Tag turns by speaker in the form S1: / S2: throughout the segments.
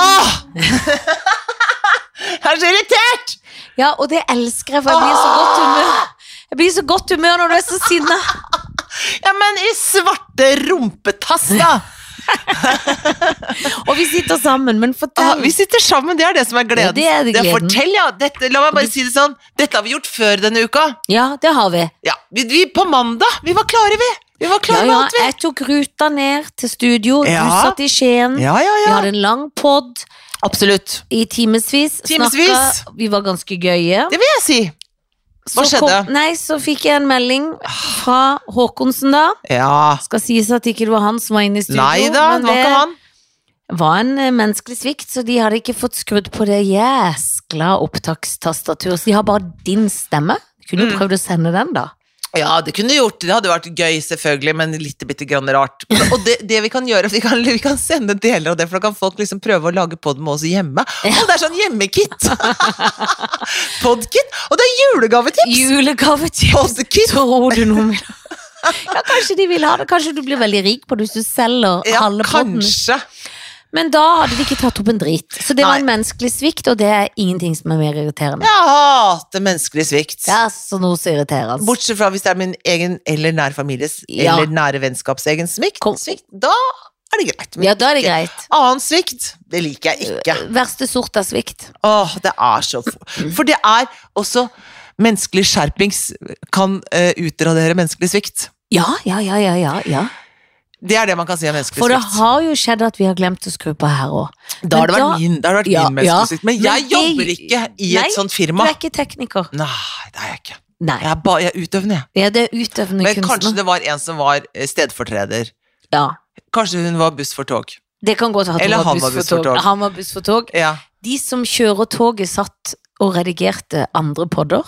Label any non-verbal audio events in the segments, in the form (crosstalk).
S1: Ah! Jeg er så irritert!
S2: Ja, og det elsker jeg, for jeg blir i så godt humør. Jeg blir i så godt humør når du er så sinna.
S1: Ja, men i svarte rumpetass, da!
S2: Og vi sitter sammen, men
S1: Ah,
S2: fortell.
S1: vi sitter sammen, det er det som er gleden.
S2: Ja, det er det gleden.
S1: fortell, ja. Dette, la meg bare si det sånn. Dette har vi gjort før denne uka.
S2: Ja, det har vi.
S1: Ja, vi, vi på mandag. Vi var klare, vi. Vi var
S2: Ja,
S1: klare
S2: ja,
S1: med alt, vi.
S2: jeg tok ruta ned til studio, du
S1: Ja.
S2: satt i Skien.
S1: Ja, ja,
S2: eh, Vi
S1: ja.
S2: hadde en lang pod
S1: Absolutt.
S2: i timevis.
S1: Timesvis.
S2: snakket. Vi var ganske gøye.
S1: Det vil jeg si. Hva
S2: Så
S1: skjedde? Ah.
S2: Kom, nei, så fikk jeg en melding fra Håkonsen, da.
S1: Ja.
S2: Skal sies at ikke det var han som var inne i studio.
S1: Nei da,
S2: men
S1: det var ikke han.
S2: var en eh, menneskelig svikt, så de hadde ikke fått skrudd på det jæskla opptakstastaturet. Så de har bare din stemme. Du kunne
S1: Mm.
S2: jo prøvd å sende den, da.
S1: Ja, det kunne du gjort. Det hadde vært gøy, selvfølgelig, men litt bitte grann rart. Og det, det vi kan gjøre, vi kan, vi kan sende deler av det, for da kan folk liksom prøve å lage pod med oss hjemme. Og det er sånn hjemmekit! (laughs) Podkit! Og det er julegavetips!
S2: Julegave til
S1: Podkit!
S2: Tror du noe om det? Ja, kanskje de vil ha det. Kanskje du blir veldig rik på det hvis du selger
S1: Ja,
S2: halve podden.
S1: kanskje.
S2: Men da hadde de ikke tatt opp en drit. Så det var
S1: Nei.
S2: en menneskelig svikt, og det er ingenting som er mer irriterende.
S1: Jeg hater menneskelig svikt.
S2: Det er så noe så irriterende.
S1: Bortsett fra hvis det er min egen eller nær families
S2: Ja.
S1: eller nære vennskaps egen svikt,
S2: Kom.
S1: svikt, da er det greit. Men
S2: ja, Øh, da er det greit.
S1: annen svikt, det liker jeg ikke.
S2: Verste sort av svikt.
S1: Åh, det er så for... for det er også Menneskelig skjerpings kan eh, utradere menneskelig svikt.
S2: Ja, ja, ja, ja, ja. ja.
S1: Det er det man kan si om menneskelig
S2: For det
S1: svikt.
S2: har jo skjedd at vi har glemt å skru på her òg.
S1: Da har det vært
S2: men da-
S1: min, da har det vært
S2: Ja,
S1: min menneskelig
S2: ja.
S1: svikt. Men
S2: Men
S1: jeg
S2: det-
S1: jobber ikke i
S2: Nei,
S1: et sånt
S2: Du
S1: firma.
S2: er ikke tekniker.
S1: Nei, det er jeg ikke.
S2: Nei.
S1: Jeg er, ba, jeg er utøvende, jeg.
S2: Ja, det er utøvende
S1: Men kanskje
S2: kunstner.
S1: det var en som var eh, stedfortreder.
S2: Ja.
S1: Kanskje hun var buss for tog.
S2: Det kan godt være
S1: Eller
S2: at
S1: han
S2: han var buss for tog. Han var buss for tog.
S1: Ja.
S2: De som kjører toget, satt og redigerte andre podder.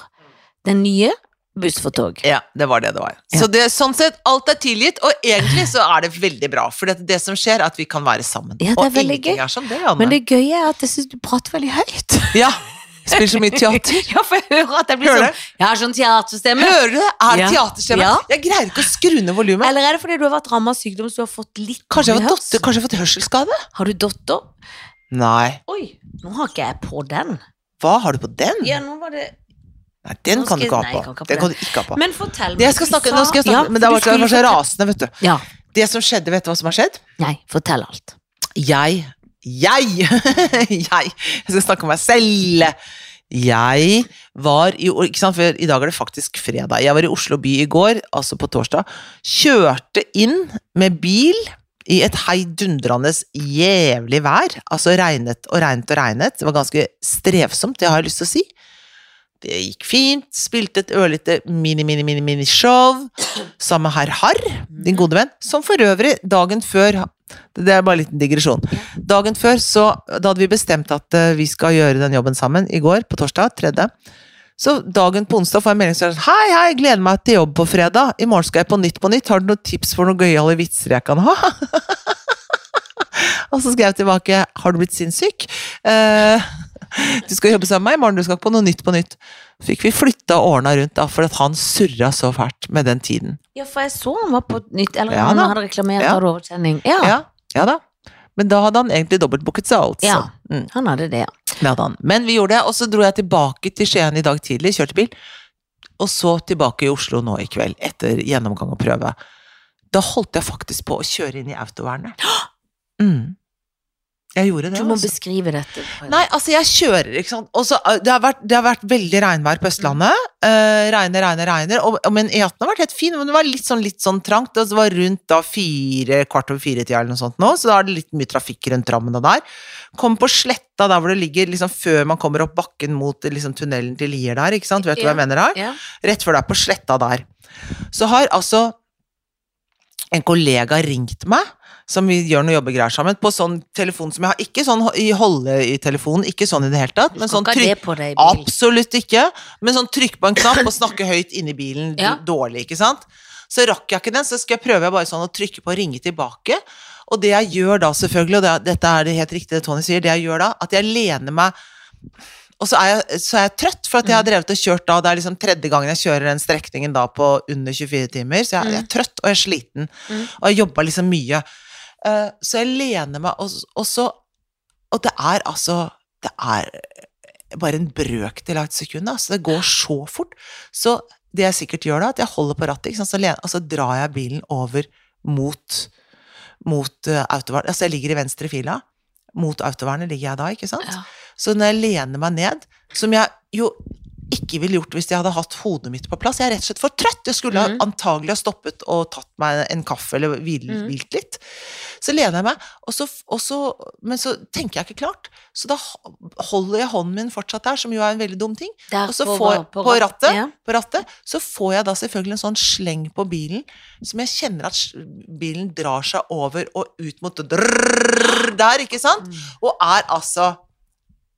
S2: Den nye Buss for tog.
S1: Ja, det var det det var.
S2: Ja.
S1: Så det, sånn sett, alt er tilgitt, og egentlig så er det veldig bra. For det, det som skjer, er at vi kan være sammen.
S2: Ja, det er
S1: og
S2: veldig
S1: ingenting
S2: gøy.
S1: er som det, Janne.
S2: Men det gøye er at jeg syns du prater veldig høyt.
S1: Ja, spiller så mye
S2: (laughs)
S1: teater.
S2: Ja, for jeg hører at jeg blir
S1: Hører
S2: sånn
S1: det?
S2: Jeg har sånn teaterstemme.
S1: Hører du det? Er det
S2: Ja.
S1: teaterstemme?
S2: Ja.
S1: Jeg greier ikke å skru ned volumet.
S2: Eller er det fordi du har vært ramma av sykdom, så du har fått litt
S1: Kanskje jeg
S2: dårlig
S1: har fått,
S2: hørsel?
S1: dotter- kanskje jeg har fått hørselsskade?
S2: Har du dotter?
S1: Nei.
S2: Oi, nå har ikke jeg på den.
S1: Hva har du på den?
S2: Ja, nå var det
S1: Nei, den
S2: Nå
S1: kan du
S2: skal-
S1: ikke
S2: nei,
S1: ha på.
S2: jeg kan ikke ha på
S1: Den
S2: den.
S1: kan du ikke ha på.
S2: Men fortell meg.
S1: Det jeg skal
S2: du
S1: snakke,
S2: sa-
S1: nå skal jeg snakke,
S2: Ja,
S1: men det
S2: for
S1: var,
S2: du
S1: jeg var så
S2: skulle fortelle-
S1: rasende, vet du.
S2: Ja,
S1: Det som skjedde, vet du hva som har skjedd?
S2: nei, fortell alt.
S1: Jeg, jeg, (laughs) jeg, jeg skal snakke om meg selv. Jeg var i Ikke sant, for i dag er det faktisk fredag. Jeg var i Oslo by i går, altså på torsdag. Kjørte inn med bil i et heidundrende jævlig vær. Altså regnet og regnet og regnet. Det var ganske strevsomt, det har jeg lyst til å si. Det gikk fint. Spilte et ørlite mini-mini-mini-mini-show sammen med herr Harr, din gode venn. Som for øvrig, dagen før Det er bare en liten digresjon. Dagen før, så Da hadde vi bestemt at eh, vi skal gjøre den jobben sammen, i går, på torsdag, tredje. Så dagen på onsdag får jeg melding som sier Hei, hei, gleder meg til jobb på fredag. I morgen skal jeg på Nytt på Nytt. Har du noen tips for noen gøyale vitser jeg kan ha? Og så skrev jeg tilbake Har du blitt sinnssyk? Eh, du skal jobbe sammen med meg i morgen, du skal ikke på noe Nytt på Nytt. Fikk vi flytta og ordna rundt, da, for at han surra så fælt med den tiden.
S2: Ja, for jeg så han var på et nytt, eller
S1: Ja,
S2: han
S1: da.
S2: hadde reklamert
S1: Ja.
S2: av overkjenning. Ja,
S1: Ja, ja da. Men da hadde han egentlig dobbeltbooket seg, altså.
S2: Ja.
S1: Mm,
S2: han hadde det, ja.
S1: det hadde han. Men vi gjorde det, og så dro jeg tilbake til Skien i dag tidlig, kjørte bil, og så tilbake i Oslo nå i kveld, etter gjennomgang og prøve. Da holdt jeg faktisk på å kjøre inn i autovernet.
S2: (gasps)
S1: Mm. Jeg gjorde det,
S2: Du må
S1: altså.
S2: beskrive dette.
S1: Nei, altså jeg kjører, ikke sant. Og så, eh, det, har vært, det har vært veldig regnvær på Østlandet. Eh, regner, regner, regner. Og, og, men E18 har vært helt fin, men det var litt sånn, litt sånn trangt. Og så var det rundt da fire, kvart over fire-tida eller noe sånt nå, så da er det litt mye trafikk rundt Drammen og der. Kom på sletta der hvor det ligger, liksom før man kommer opp bakken mot liksom, tunnelen til Lier der, ikke sant. Vet du hva jeg
S2: Ja.
S1: mener der?
S2: Ja.
S1: Rett før det er på sletta der. Så har altså en kollega ringt meg, som vi gjør noen jobbegreier sammen, på sånn telefon som jeg har. Ikke sånn ho- i holde i telefonen, ikke sånn i det hele tatt. Men
S2: Skal
S1: sånn
S2: ikke ha
S1: trykk,
S2: det på deg i bil.
S1: absolutt ikke. Men sånn trykk på en knapp og snakke høyt inni bilen d-
S2: Ja.
S1: dårlig, ikke sant. Så rakk jeg ikke den, så skal jeg prøve bare sånn å trykke på og ringe tilbake. Og det jeg gjør da, selvfølgelig, og det, dette er det helt riktige det Tony sier, det jeg gjør da, at jeg lener meg og så er, jeg, så er jeg trøtt, for at jeg
S2: Mm.
S1: har drevet og kjørt da, det er liksom tredje gangen jeg kjører den strekningen da på under 24 timer, så jeg, jeg er
S2: Mm.
S1: trøtt og jeg er sliten, og jeg jobber liksom mye. Eh, så jeg lener meg, og, og så Og det er altså det er bare en brøkdel av et sekund. Altså, det går så fort. Så det jeg sikkert gjør da, at jeg holder på rattet, ikke sant? Så, len- og så drar jeg bilen over mot, mot eh, autovern. Altså, jeg ligger i venstre fila. Mot autovernet ligger jeg da, ikke sant?
S2: Ja.
S1: Så når jeg lener meg ned, som jeg jo ikke ville gjort hvis jeg hadde hatt hodet mitt på plass Jeg er rett og slett for trøtt. Jeg skulle
S2: Mhm.
S1: ha antagelig ha stoppet og tatt meg en kaffe eller hvil,
S2: Mhm.
S1: hvilt litt. Så lener jeg meg, og så, og så, men så tenker jeg ikke klart. Så da holder jeg hånden min fortsatt der, som jo er en veldig dum ting
S2: Der
S1: Og så
S2: på-
S1: får- altså på
S2: ratt-
S1: rattet.
S2: Ja.
S1: på rattet, så får jeg da selvfølgelig en sånn sleng på bilen som jeg kjenner at sj- bilen drar seg over og ut mot drrrr, der, ikke
S2: Mm.
S1: sant? Og er altså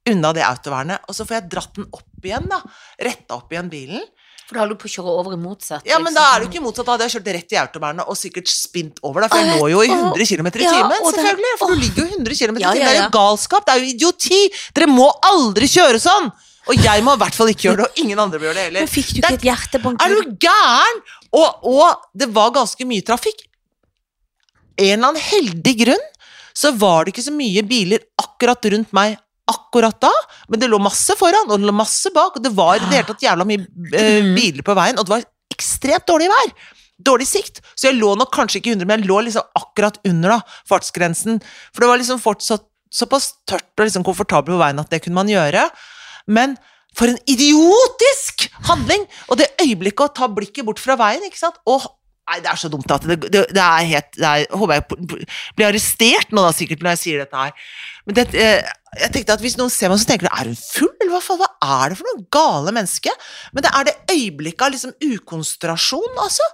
S1: unna det autovernet. Og så får jeg dratt den opp igjen, da. Retta opp igjen bilen.
S2: For da holder du på å kjøre over i motsatt. liksom.
S1: Ja, men da er det jo ikke motsatt. Da hadde jeg kjørt rett i autovernet og sikkert spint over, da. For jeg lå jo i 100 km i
S2: Ja,
S1: timen,
S2: og det-
S1: selvfølgelig. For du ligger jo i 100 km i
S2: Ja,
S1: timen.
S2: ja,
S1: Det er
S2: ja.
S1: jo galskap. Det er jo idioti. Dere må aldri kjøre sånn! Og jeg må i hvert fall ikke gjøre det, og ingen andre bør gjøre det heller.
S2: Men fikk du
S1: Det er-
S2: ikke et hjertebank?
S1: Er du gæren? Og, og det var ganske mye trafikk. En eller annen heldig grunn så var det ikke så mye biler akkurat rundt meg akkurat da, men det lå masse foran, og det lå masse bak, og det var i det hele tatt jævla mye eh, biler på veien, og det var ekstremt dårlig vær. Dårlig sikt, så jeg lå nok kanskje ikke 100, men jeg lå liksom akkurat under da, fartsgrensen. For det var liksom fortsatt såpass tørt og liksom komfortabel på veien at det kunne man gjøre. Men for en idiotisk handling! Og det øyeblikket å ta blikket bort fra veien, ikke sant? Og, nei, det er så dumt at det, det, det er helt det er, Håper jeg po- po- blir arrestert nå, da, sikkert, når jeg sier dette her. Men det, eh, jeg tenkte at hvis noen ser meg, så tenker de er hun full, eller hva faen? Hva er det for noe gale menneske? Men det er det øyeblikket av liksom ukonsentrasjon, altså.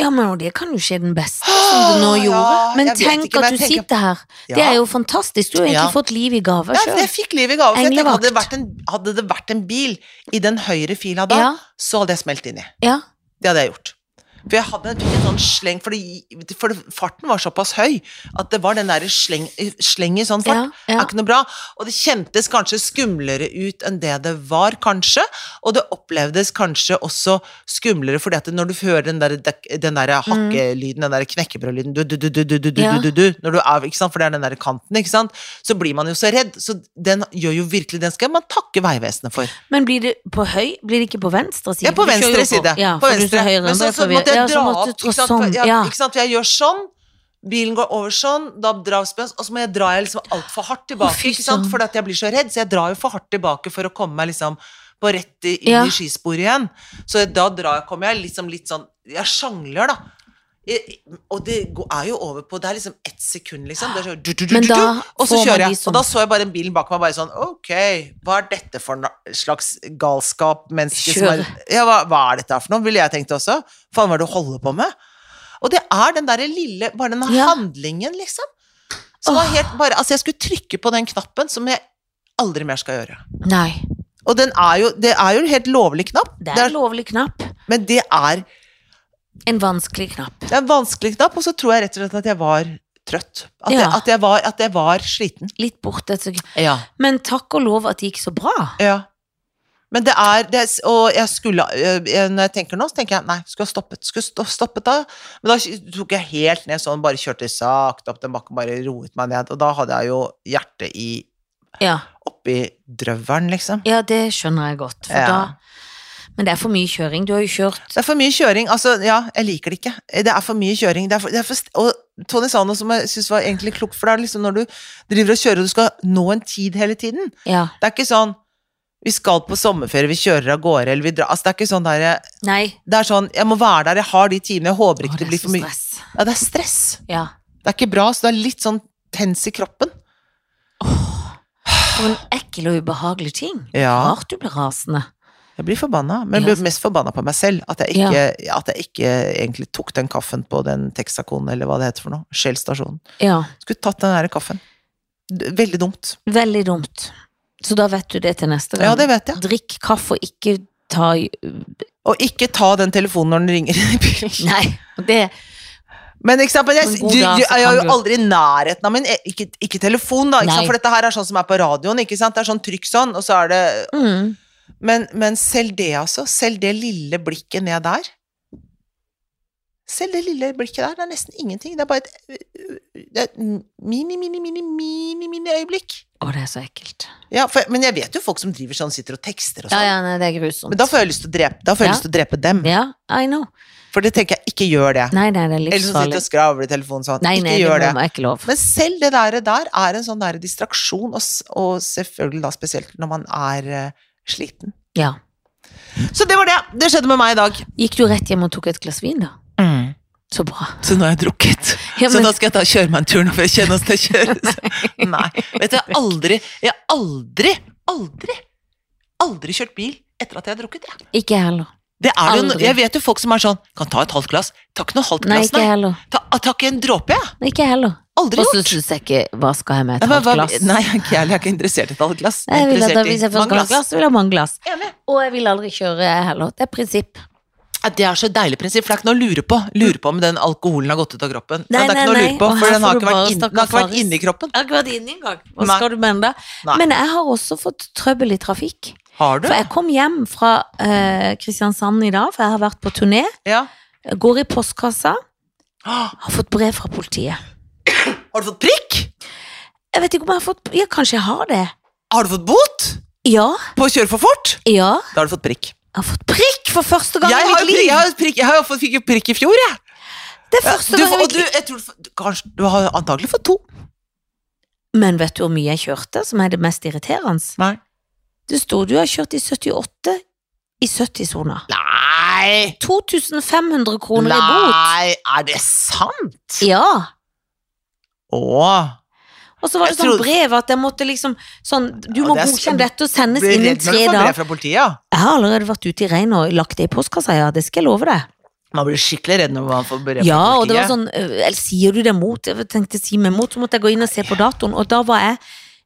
S2: Ja, men det kan jo skje den beste, som du nå
S1: Ah, Ja,
S2: gjorde. men
S1: jeg vet
S2: tenk
S1: ikke, men
S2: at du
S1: jeg tenker-
S2: sitter her. Det
S1: Ja.
S2: er jo fantastisk. Du har egentlig
S1: Ja.
S2: fått liv i gave
S1: Ja,
S2: sjøl.
S1: jeg fikk liv i gave. for jeg tenkte, Hadde, det
S2: Englevakt.
S1: vært en, hadde det vært en bil i den høyre fila da,
S2: Ja,
S1: så hadde jeg smelt inni.
S2: ja.
S1: Det hadde jeg gjort. For jeg hadde, fikk en sånn sleng, for, det, for det, farten var såpass høy at det var den derre sleng, sleng i sånn fart.
S2: ja, ja.
S1: Er ikke noe bra. Og det kjentes kanskje skumlere ut enn det det var, kanskje. Og det opplevdes kanskje også skumlere, fordi at når du hører den der, den der hakkelyden, den der knekkebrødlyden du, du, du, du, du, du, du,
S2: Mm. Ja.
S1: du, du, når du er, ikke sant? For det er den der kanten, ikke sant? Så blir man jo så redd. Så den gjør jo virkelig Den skal man takke Vegvesenet for.
S2: Men blir det på høy? Blir det ikke på venstre side?
S1: Ja, på
S2: Du kjører jo
S1: venstre side.
S2: Ja,
S1: på
S2: for du
S1: venstre.
S2: er så høyre
S1: Men
S2: enn
S1: så, så
S2: det, for vi-
S1: måtte jeg
S2: ja,
S1: dra
S2: så måtte
S1: opp,
S2: du
S1: ikke
S2: trå
S1: sant?
S2: sånn.
S1: For, ja,
S2: Ja.
S1: ikke sant? For jeg gjør sånn, bilen går over sånn, da dras bremsen, og så må jeg dra jeg liksom altfor hardt tilbake,
S2: fy
S1: ikke sant?
S2: søren.
S1: Fordi at jeg blir så redd, så jeg drar jo for hardt tilbake for å komme meg liksom på rett i, inn
S2: Ja.
S1: i skisporet igjen. Så da drar jeg, kommer jeg liksom litt sånn, jeg sjangler da. I- Og det går- er jo over på, det er liksom ett sekund liksom, det er så, du, du, du,
S2: Men
S1: du, du,
S2: da
S1: og så
S2: får man
S1: kjører
S2: de
S1: jeg,
S2: som-
S1: og da så jeg bare en bilen bak meg bare sånn, ok, hva er dette for na- slags galskap, menneske som er, ja, hva, hva er dette her for noe, ville jeg tenkt også, faen hva er det du holder på med? Og det er den der lille, bare den
S2: Ja.
S1: handlingen liksom, som var
S2: Åh.
S1: helt bare, altså jeg skulle trykke på den knappen som jeg aldri mer skal gjøre.
S2: Nei.
S1: Og den er jo, det er jo en helt lovlig knapp,
S2: Det er en lovlig knapp.
S1: men det er,
S2: En vanskelig knapp.
S1: det er en vanskelig knapp, og så tror jeg rett og slett at jeg var trøtt. At, jeg,
S2: Ja.
S1: at, jeg, var, at jeg var sliten.
S2: Litt borte et sekund.
S1: Ja.
S2: Men takk og lov at det gikk så bra.
S1: Ja. Men det er det, er- Og jeg skulle jeg- Når jeg tenker nå, så tenker jeg nei, skulle ha stoppet. Skulle sto- stoppet da. Men da tok jeg helt ned sånn, bare kjørte sakte opp den bakken, bare roet meg ned. Og da hadde jeg jo hjertet i
S2: Ja,
S1: oppi drøvelen, liksom.
S2: ja det skjønner jeg godt. For
S1: Ja.
S2: da Men det er for mye kjøring. Du har jo kjørt
S1: Det er for mye kjøring. Altså, ja, jeg liker det ikke. Det er for mye kjøring. Det er for, det er for, st- og Tony sa noe som jeg syns var egentlig klokt, for det er liksom når du driver og kjører og du skal nå en tid hele tiden.
S2: Ja.
S1: Det er ikke sånn vi skal på sommerferie, vi kjører av gårde, eller vi drar Altså, det er ikke sånn derre
S2: Nei.
S1: Det er sånn, jeg må være der, jeg har de timene, jeg håper
S2: Å,
S1: ikke det,
S2: er
S1: blir
S2: så
S1: for mye.
S2: stress.
S1: Ja, det er stress.
S2: Ja.
S1: Det er ikke bra, så det er litt sånn tens i kroppen.
S2: For en ekkel og ubehagelig ting.
S1: Ja,
S2: Rart du blir rasende.
S1: jeg blir forbanna, men jeg
S2: Ja.
S1: blir mest forbanna på meg selv. At jeg, ikke, at jeg ikke egentlig tok den kaffen på den Texacoen, eller hva det heter for noe. Shell stasjon.
S2: Ja.
S1: Skulle tatt den der kaffen. D- Veldig dumt.
S2: Veldig dumt. Så da vet du det til neste gang.
S1: Ja, det vet jeg.
S2: Drikk kaffe og ikke ta
S1: Og ikke ta den telefonen når den ringer i bilen.
S2: Nei, det
S1: Men ikke sant, men jeg,
S2: På en
S1: du,
S2: god
S1: du,
S2: dag så
S1: jeg er
S2: kan
S1: jo
S2: du-
S1: aldri i nærheten av min eh, Ikke, ikke telefon, da, ikke
S2: Nei.
S1: sant? for dette her er sånn som er på radioen. Ikke sant? Det er sånn trykk sånn, og så er det
S2: mm.
S1: Men, men selv det, altså. Selv det lille blikket ned der. Selv det lille blikket der, det er nesten ingenting. Det er bare et det er et mini, mini, mini, mini, mini øyeblikk.
S2: Å, Å, det er så ekkelt.
S1: Ja, for, men jeg vet jo folk som driver sånn, sitter og tekster og
S2: Ja,
S1: sånn.
S2: ja, nei, det er grusomt.
S1: Men da får jeg lyst til å drepe, da får jeg
S2: Ja.
S1: lyst til å drepe dem.
S2: Ja, I know.
S1: For det tenker jeg, ikke gjør det.
S2: Nei, nei, det er
S1: Eller som sitter
S2: livsfarlig.
S1: og skravler i telefonen sånn.
S2: Nei,
S1: ikke
S2: nei,
S1: gjør
S2: det
S1: det.
S2: må jeg ikke lov.
S1: Men selv det der, der er en sånn der distraksjon, og, s- og selvfølgelig da spesielt når man er eh, sliten.
S2: Ja.
S1: Så det var det. Det skjedde med meg i dag.
S2: Gikk du rett hjem og tok et glass vin, da? Så bra.
S1: Så nå har jeg drukket.
S2: Ja, men,
S1: Så da skal jeg ta kjøre meg en tur nå, for jeg kjenner åssen det
S2: (laughs)
S1: kjøres. (laughs) Nei. Vet du, jeg har aldri, jeg har aldri, aldri, aldri kjørt bil etter at jeg har drukket, jeg.
S2: ikke jeg heller.
S1: Det er jo, no-
S2: Aldri.
S1: jeg vet jo folk som er sånn Kan ta et halvt glass. Ta ikke noe halvt
S2: Nei,
S1: glass,
S2: ikke jeg
S1: nei.
S2: heller.
S1: Ta, ah, ta ikke en dråpe, jeg.
S2: Nei, Ikke jeg heller.
S1: Aldri
S2: Og
S1: gjort.
S2: så syns jeg ikke Hva skal jeg med
S1: Nei,
S2: et
S1: men
S2: halvt
S1: hva-
S2: glass?
S1: Nei, jeg er ikke jeg er ikke interessert i et halvt glass. Jeg
S2: Jeg
S1: er
S2: vil at da,
S1: interessert
S2: hvis
S1: i
S2: jeg først
S1: mange
S2: skal ha glass,
S1: glass.
S2: så vil jeg ha mange glass.
S1: Enig.
S2: Og jeg vil aldri kjøre, jeg heller. Det er prinsipp.
S1: Ja, Det er så deilig prinsipp, for det er ikke noe å lure på. Lure på om den alkoholen har gått ut av kroppen.
S2: Nei,
S1: det er
S2: nei,
S1: ikke noe å
S2: nei.
S1: lure på,
S2: Og her
S1: for den
S2: får
S1: har
S2: du
S1: ikke
S2: bare
S1: vært, inn,
S2: snakke
S1: den har ikke vært
S2: faris.
S1: inni kroppen.
S2: Jeg har ikke vært inne engang. Hva
S1: Nei.
S2: skal du mene da?
S1: Nei.
S2: Men jeg har også fått trøbbel i trafikk.
S1: Har du?
S2: For jeg kom hjem fra eh, Kristiansand i dag, for jeg har vært på turné.
S1: Ja. (gasps)
S2: Går i postkassa,
S1: Har
S2: har fått brev fra politiet.
S1: du fått prikk?
S2: Jeg vet ikke om jeg har fått Ja, kanskje jeg har det.
S1: Har du fått bot
S2: Ja.
S1: på å kjøre for fort?
S2: Ja.
S1: Da har du fått prikk.
S2: Jeg har fått prikk for første gang
S1: Jeg
S2: i
S1: har
S2: mitt
S1: jo prikk,
S2: liv!
S1: jeg har jo prikk, jeg har jo fått, fikk jo prikk i fjor, jeg.
S2: Det er
S1: Ja,
S2: første
S1: du,
S2: gang i
S1: og
S2: mitt
S1: du,
S2: liv.
S1: jeg tror, du får- kanskje, du har antagelig fått to.
S2: Men vet du hvor mye jeg kjørte, som er det mest irriterende?
S1: Nei.
S2: Det sto du har kjørt i 78 i 70-sona.
S1: Nei!
S2: 2500 kroner i bot.
S1: Nei, er det sant?
S2: Ja.
S1: Åh.
S2: Og så var det
S1: Jeg
S2: sånn
S1: trodde-
S2: brev at jeg måtte liksom sånn, Du
S1: Ja,
S2: må
S1: det er
S2: godkjenne
S1: sk-
S2: dette og sendes
S1: Blir
S2: innen
S1: redd når
S2: tre
S1: du får brev
S2: dager.
S1: fra politiet, ja.
S2: Jeg har allerede vært ute i regn og lagt det i postkassa, ja, det skal jeg love deg.
S1: Man blir skikkelig redd når man får brev fra
S2: Ja, og det var
S1: politiet.
S2: sånn øh, Eller sier du det mot? Jeg tenkte si meg mot, så måtte jeg gå inn og se på datoen, og da var jeg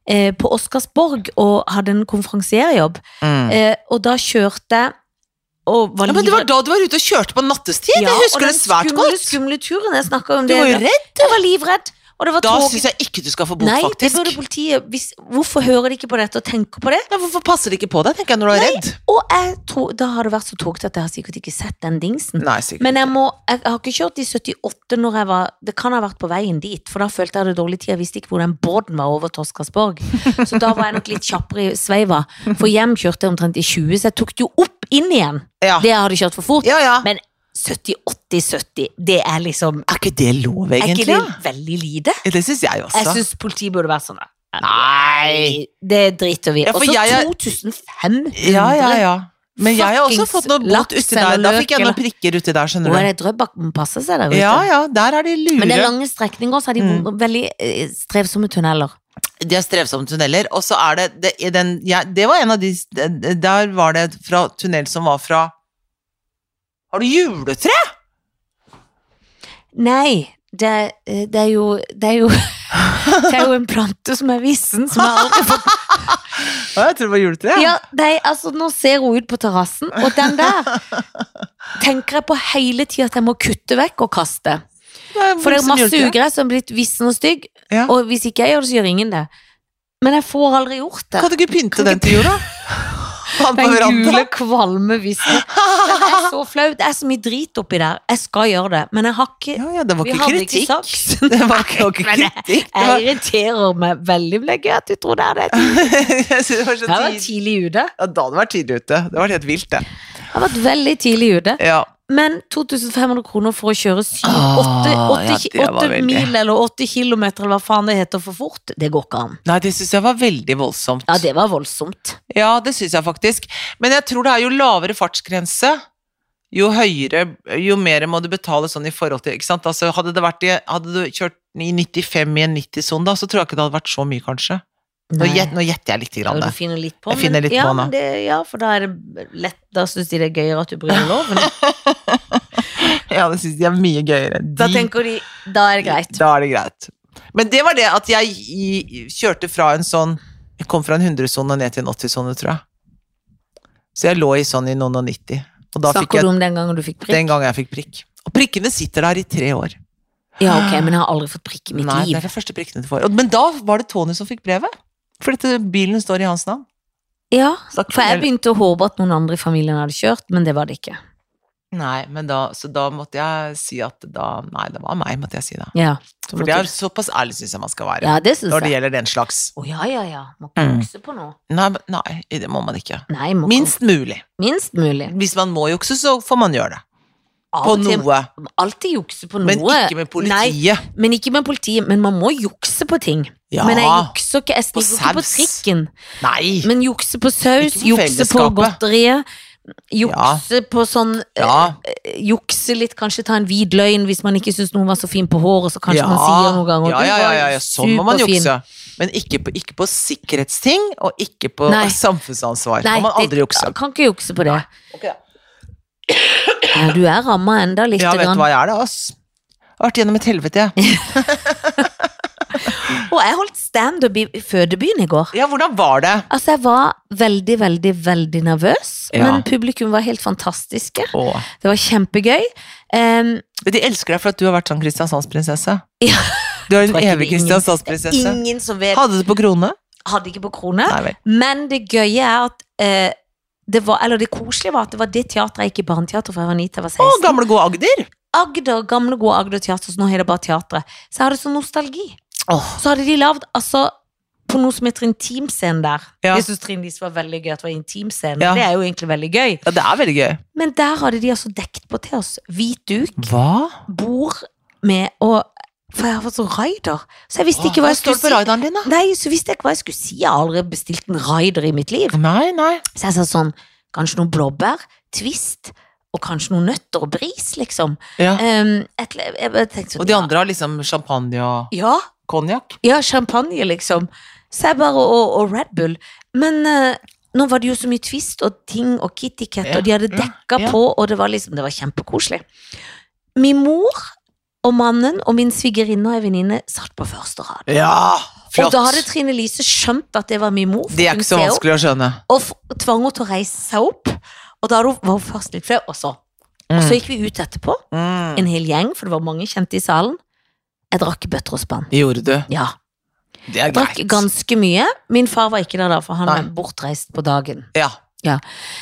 S2: eh, på Oscarsborg og hadde en konferansierjobb,
S1: Mm.
S2: eh, og da kjørte jeg og var
S1: Ja, men det var
S2: livredd-
S1: da du var ute og kjørte på nattestid.
S2: Ja,
S1: jeg
S2: og
S1: husker det
S2: den
S1: svært
S2: skumle,
S1: godt.
S2: skumle turen, jeg snakket om
S1: Du
S2: det.
S1: var jo redd.
S2: Jeg var livredd, og det var
S1: Da
S2: tog.
S1: syns jeg ikke du skal få bot,
S2: Nei, det
S1: faktisk.
S2: burde politiet hvis, Hvorfor hører de ikke på dette og tenker på det?
S1: Ja, hvorfor passer det ikke på deg, tenker jeg, når du er redd?
S2: Og jeg tror, da har det vært så tåkete at jeg har sikkert ikke sett den dingsen.
S1: Nei, sikkert.
S2: Men jeg, må, jeg har ikke kjørt i 78 når jeg var Det kan ha vært på veien dit, for da følte jeg hadde dårlig tid. Jeg visste ikke hvor den båten var over Toskasborg. Så da var jeg nok litt kjappere i sveiva. For hjem kjørte jeg omtrent i 20, så jeg tok det jo opp inn igjen.
S1: Ja.
S2: Det jeg hadde kjørt for fort.
S1: Ah. ja, ja.
S2: Men 78-70, det er liksom
S1: Er ikke det lov,
S2: Er ikke
S1: egentlig?
S2: det
S1: da?
S2: veldig lite?
S1: Det syns jeg
S2: Jeg
S1: også.
S2: syns politiet burde vært sånn. da.
S1: Nei!
S2: Det driter vi i.
S1: Ja, for
S2: Og så
S1: jeg er-
S2: 2500.
S1: Ja, ja, ja. Men jeg har også
S2: Fuckings
S1: fått noe bot
S2: laks
S1: uti der.
S2: eller
S1: Da fikk jeg
S2: løk,
S1: noen prikker uti der,
S2: Nå er
S1: skjønner du.
S2: det Drøbak må passe seg der ute.
S1: Ja, ja, der er de
S2: Men det er
S1: lure.
S2: lange strekninger, så er de
S1: Mm.
S2: vond- veldig eh, strevsomme tunneler.
S1: De er strevsomme tunneler, og så er det det, i den, ja, det var en av de Der var det fra tunnel som var fra Har du juletre?
S2: Nei, det, eh, det er jo Det er jo (laughs) det er jo en plante som er vissen, som jeg aldri
S1: (laughs)
S2: får
S1: Å, jeg tror det var juletre.
S2: ja, nei, altså, Nå ser hun ut på terrassen, og den der tenker jeg på hele tida at jeg må kutte vekk og kaste.
S1: Det er
S2: For det er
S1: som
S2: masse
S1: juletre.
S2: ugress som er blitt vissen og stygg,
S1: Ja.
S2: og hvis ikke jeg gjør det, så gjør ingen det. Men jeg får aldri gjort det.
S1: Kan du ikke pynte den til
S2: (laughs)
S1: jorda? Han på
S2: Den
S1: verandaen. (laughs)
S2: gule, kvalme vissen. Det er så flaut. Det er så mye drit oppi der. Jeg skal gjøre det, men jeg har ikke
S1: Ja, ja, det var
S2: Vi
S1: ikke
S2: hadde ikke
S1: kritikk.
S2: saks.
S1: (laughs) Det var ikke, det var ikke
S2: Men jeg-
S1: kritikk. Det
S2: Jeg
S1: var,
S2: irriterer meg veldig, men det er gøy at du tror det er det.
S1: (laughs) jeg synes det var
S2: Jeg
S1: så
S2: har
S1: tidlig.
S2: vært tidlig ute.
S1: Ja, da hadde det vært tidlig ute. Det var helt vilt, det.
S2: Jeg har vært veldig tidlig ute.
S1: Ja.
S2: Men 2500 kroner for å kjøre
S1: Åh,
S2: 8
S1: Ah, ja, det var veldig.
S2: mil eller 8 kilometer eller hva faen det heter for fort, det går ikke an.
S1: Nei, det syns jeg var veldig voldsomt.
S2: Ja, det var voldsomt.
S1: Ja, det syns jeg faktisk. Men jeg tror det er jo lavere fartsgrense, jo høyere, jo mer må du betale sånn i forhold til ikke sant? Altså, hadde, det vært i, hadde du kjørt i 95 i en 90-sone, da, så tror jeg ikke det hadde vært så mye, kanskje. Nå
S2: Nei.
S1: gjet- nå gjetter jeg litt.
S2: Ja,
S1: Grann,
S2: du
S1: der.
S2: finner litt på,
S1: Jeg finner litt
S2: ja,
S1: på, da.
S2: men det, ja, for da er det lett Da syns de det er gøyere at du bryter
S1: (laughs)
S2: loven.
S1: (laughs) Ja, det syns de er mye gøyere.
S2: Da
S1: De-
S2: tenker de Da er det greit.
S1: Da er det greit. Men det var det at jeg i, kjørte fra en sånn Jeg kom fra en 100-sone ned til en 80-sone, tror jeg. Så jeg lå i sånn i noen og 90. Og da fikk
S2: Snakker du
S1: jeg
S2: om den gangen du fikk prikk?
S1: den gangen jeg fikk prikk. Og prikkene sitter der i tre år.
S2: Ja, ok, men jeg har aldri fått prikk i mitt
S1: Nei, det
S2: liv.
S1: er de første prikkene du får. Og- Men da var det Tony som fikk brevet. For dette bilen står i hans navn.
S2: Ja,
S1: Så da kunne
S2: For jeg
S1: jeg-
S2: begynte å håpe at noen andre i familien hadde kjørt, men det var det ikke.
S1: Nei, men da, så da måtte jeg si at da Nei, det var meg, måtte jeg si da.
S2: Ja,
S1: For det er såpass ærlig syns jeg man skal være
S2: ja det syns
S1: når det
S2: jeg.
S1: gjelder den slags.
S2: Å ja, ja, ja. Må ikke
S1: Mm.
S2: jukse på noe.
S1: Nei, men- nei, det må man ikke.
S2: Nei, må ikke-
S1: Minst mulig.
S2: minst mulig.
S1: Hvis man må jukse, så får man gjøre det.
S2: Av
S1: På
S2: og til-
S1: noe.
S2: Alltid jukse på noe.
S1: Men ikke med
S2: Nei,
S1: politiet.
S2: men ikke med politiet. Men man må jukse på ting.
S1: Ja.
S2: Men jeg jukser ikke. Jeg sniker ikke på
S1: saus.
S2: trikken.
S1: Nei.
S2: Men jukse på saus,
S1: Ikke på
S2: jukse på
S1: fellesskapet.
S2: godteriet. Jukse på sånn
S1: Ja.
S2: eh, Jukse litt, kanskje ta en hvit løgn hvis man ikke syns noen var så fin på håret, så kanskje
S1: ja.
S2: man sier noen ganger
S1: ja,
S2: «Du
S1: ja,
S2: var
S1: ja,
S2: jo
S1: ja, ja. Sånn må man
S2: superfin».
S1: jukse. Men ikke på, ikke på sikkerhetsting, og ikke på
S2: Nei.
S1: samfunnsansvar.
S2: Nei,
S1: Nei, Sånn man aldri
S2: det-
S1: jukse.
S2: Kan ikke jukse på det.
S1: Okay, da.
S2: Ja, du er ramma enda litt.
S1: ja, vet
S2: grann.
S1: du hva jeg er, da, ass? Jeg har vært gjennom et helvete, jeg.
S2: Og jeg holdt standup i i fødebyen i går.
S1: Ja, hvordan var det?
S2: Altså, jeg var veldig, veldig, veldig nervøs,
S1: Ja.
S2: men publikum var helt fantastiske.
S1: Åh.
S2: Det var kjempegøy. Ehm, Em,
S1: Men de elsker deg for at du har vært sånn Kristiansandsprinsesse.
S2: Ja.
S1: Du er en
S2: Tror
S1: evig
S2: ikke det er ingen-
S1: Kristiansandsprinsesse.
S2: ingen som vet
S1: Hadde du på krone?
S2: Hadde ikke på krone.
S1: Nei vel.
S2: Men det gøye er at eh, det var, eller det koselige var at det var det teatret jeg gikk i barneteater fra jeg var 9 til jeg var
S1: Å,
S2: 16.
S1: gamle, gode Agder!
S2: Agder, gamle gode Agder teater, så nå heter det bare teatret. Så jeg hadde sånn nostalgi.
S1: Åh.
S2: Så hadde de lagd altså, på noe som heter intimscene der.
S1: Ja.
S2: Jeg syns Trine Lise var veldig gøy at det var intimscene.
S1: Ja.
S2: Det er jo egentlig veldig gøy.
S1: Ja, det er veldig gøy.
S2: Men der hadde de altså dekt på til oss hvit duk,
S1: Hva?
S2: bord med og For jeg har fått sånn raider. Så jeg visste
S1: Åh,
S2: ikke hva jeg
S1: står det
S2: skulle
S1: på
S2: si.
S1: raideren din, da?
S2: Nei, så visste jeg ikke hva jeg skulle si. Jeg har aldri bestilt en raider i mitt liv.
S1: Nei, nei.
S2: Så jeg sa sånn, kanskje noen blåbær, twist, og kanskje noen nøtter og bris, liksom.
S1: Ja.
S2: Um, et, jeg, bare tenkte sånn,
S1: Og de andre har liksom champagne og
S2: Ja,
S1: konjakk?
S2: ja, champagne, liksom. Så jeg bare, og, og Red Bull. Men eh, nå var det jo så mye twist og ting og kittycat,
S1: Ja,
S2: og de hadde
S1: mm,
S2: dekka
S1: ja.
S2: på, og det var liksom, det var kjempekoselig. Min mor og mannen og min svigerinne og en venninne satt på første rad.
S1: Ja!
S2: Og
S1: Flott!
S2: da hadde Trine Lise skjønt at det var min mor. for
S1: Det er
S2: hun
S1: ikke så
S2: ser opp.
S1: vanskelig å skjønne.
S2: og f- tvang henne til å reise seg opp. Og da hadde hun- var hun først litt flau, og så. Og så gikk vi ut etterpå,
S1: Mm.
S2: en hel gjeng, for det var mange kjente i salen. Jeg drakk bøtter og spann.
S1: Det Gjorde du.
S2: Ja,
S1: Det er
S2: jeg drakk
S1: greit.
S2: ganske mye. Min far var ikke der da, for han
S1: Nei.
S2: var bortreist på dagen.
S1: Ja.
S2: Eh,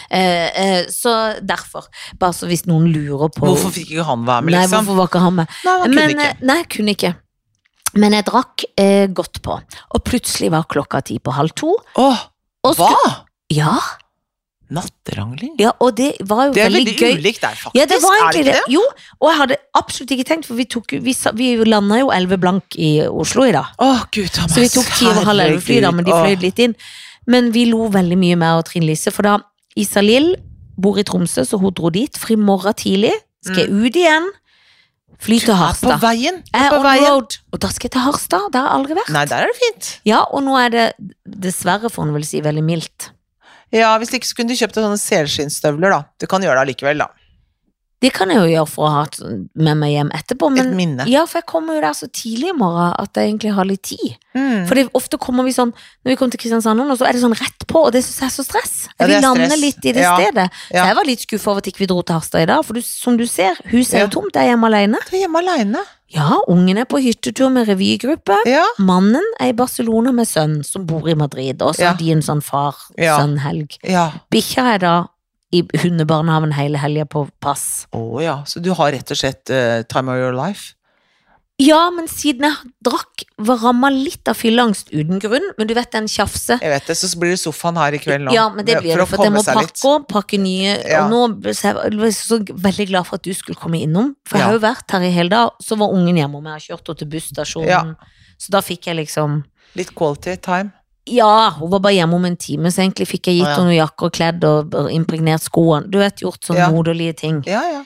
S2: eh, så derfor, bare så hvis noen lurer på
S1: Hvorfor fikk ikke han være med,
S2: Nei,
S1: liksom?
S2: hvorfor var ikke han med?
S1: Nei, han kunne
S2: Men,
S1: ikke.
S2: eh, Nei, kunne ikke. Men jeg drakk eh, godt på, og plutselig var klokka ti på halv to.
S1: Åh,
S2: Og
S1: hva?
S2: sku- Ja,
S1: Natterangling?
S2: ja, og det var jo
S1: Det er veldig,
S2: veldig gøy.
S1: ulikt der, faktisk.
S2: Ja, det var
S1: er
S2: egentlig
S1: ikke
S2: det. Jo, og jeg hadde absolutt ikke tenkt, for vi, tok, jo- vi, sa- vi landa jo 11 blank i Oslo i dag.
S1: Åh, gud, Thomas.
S2: Så vi tok 10 over halv 11 fly, da, men de fløy
S1: Herregud.
S2: litt inn. Men vi lo veldig mye med og Trine Lise, for da Isalill bor i Tromsø, så hun dro dit. For i morgen tidlig skal jeg ut igjen, fly til
S1: Åh, Mm. På
S2: Harstad.
S1: veien.
S2: Jeg er
S1: På
S2: on
S1: veien.
S2: road, og da skal jeg til Harstad. Der har jeg aldri vært.
S1: Nei, der er det fint.
S2: Ja, og nå er det dessverre, får en vel si, veldig mildt.
S1: Ja, hvis ikke så kunne du kjøpt deg sånne selskinnsstøvler, da. Du kan gjøre det allikevel, da.
S2: Det kan jeg jo gjøre for å ha et- med meg hjem etterpå, men
S1: Et minne.
S2: Ja, for jeg kommer jo der så tidlig i morgen at jeg egentlig har litt tid.
S1: Mm.
S2: For det, ofte kommer vi sånn, når vi kommer til Kristiansand nå, så er det sånn rett på, og det synes jeg er så stress.
S1: Ja, det
S2: Jeg vil
S1: er
S2: lande
S1: stress.
S2: litt i det
S1: Ja,
S2: stedet. Så
S1: ja.
S2: jeg var litt skuffet over at ikke vi dro til Harstad i dag, for du, som du ser, huset er
S1: Ja.
S2: jo tomt, jeg er hjemme alene.
S1: Du er hjemme aleine.
S2: Ja, ungen er på hyttetur med revygruppe.
S1: Ja.
S2: Mannen er i Barcelona med sønn som bor i Madrid, og så
S1: Ja.
S2: har de en sånn far-sønn-helg.
S1: ja.
S2: Bikkja er da i hundebarnehaven hele helgen på pass.
S1: Å ja, så du har rett og slett eh, time of your life?
S2: Ja, men siden jeg drakk, var ramma litt av fylleangst uten grunn. Men du vet den
S1: Jeg
S2: tjafse.
S1: vet det, så blir det sofaen her i kveld nå.
S2: Ja, men det blir det, for, at jeg må pakke og pakke nye.
S1: Ja.
S2: Og nå ble jeg jeg var så veldig glad for at du skulle komme innom, for jeg
S1: Ja.
S2: har jo vært her i hele dag. Så var ungen hjemme, og jeg har kjørt henne til busstasjonen. Så da fikk jeg liksom
S1: Litt quality time.
S2: Ja, hun var bare hjemme om en time, så egentlig fikk jeg
S1: Å,
S2: gitt
S1: ja.
S2: henne noen jakker og kledd og impregnert skoene. Du vet, gjort sånne
S1: Ja.
S2: moderlige ting.
S1: Ja, ja.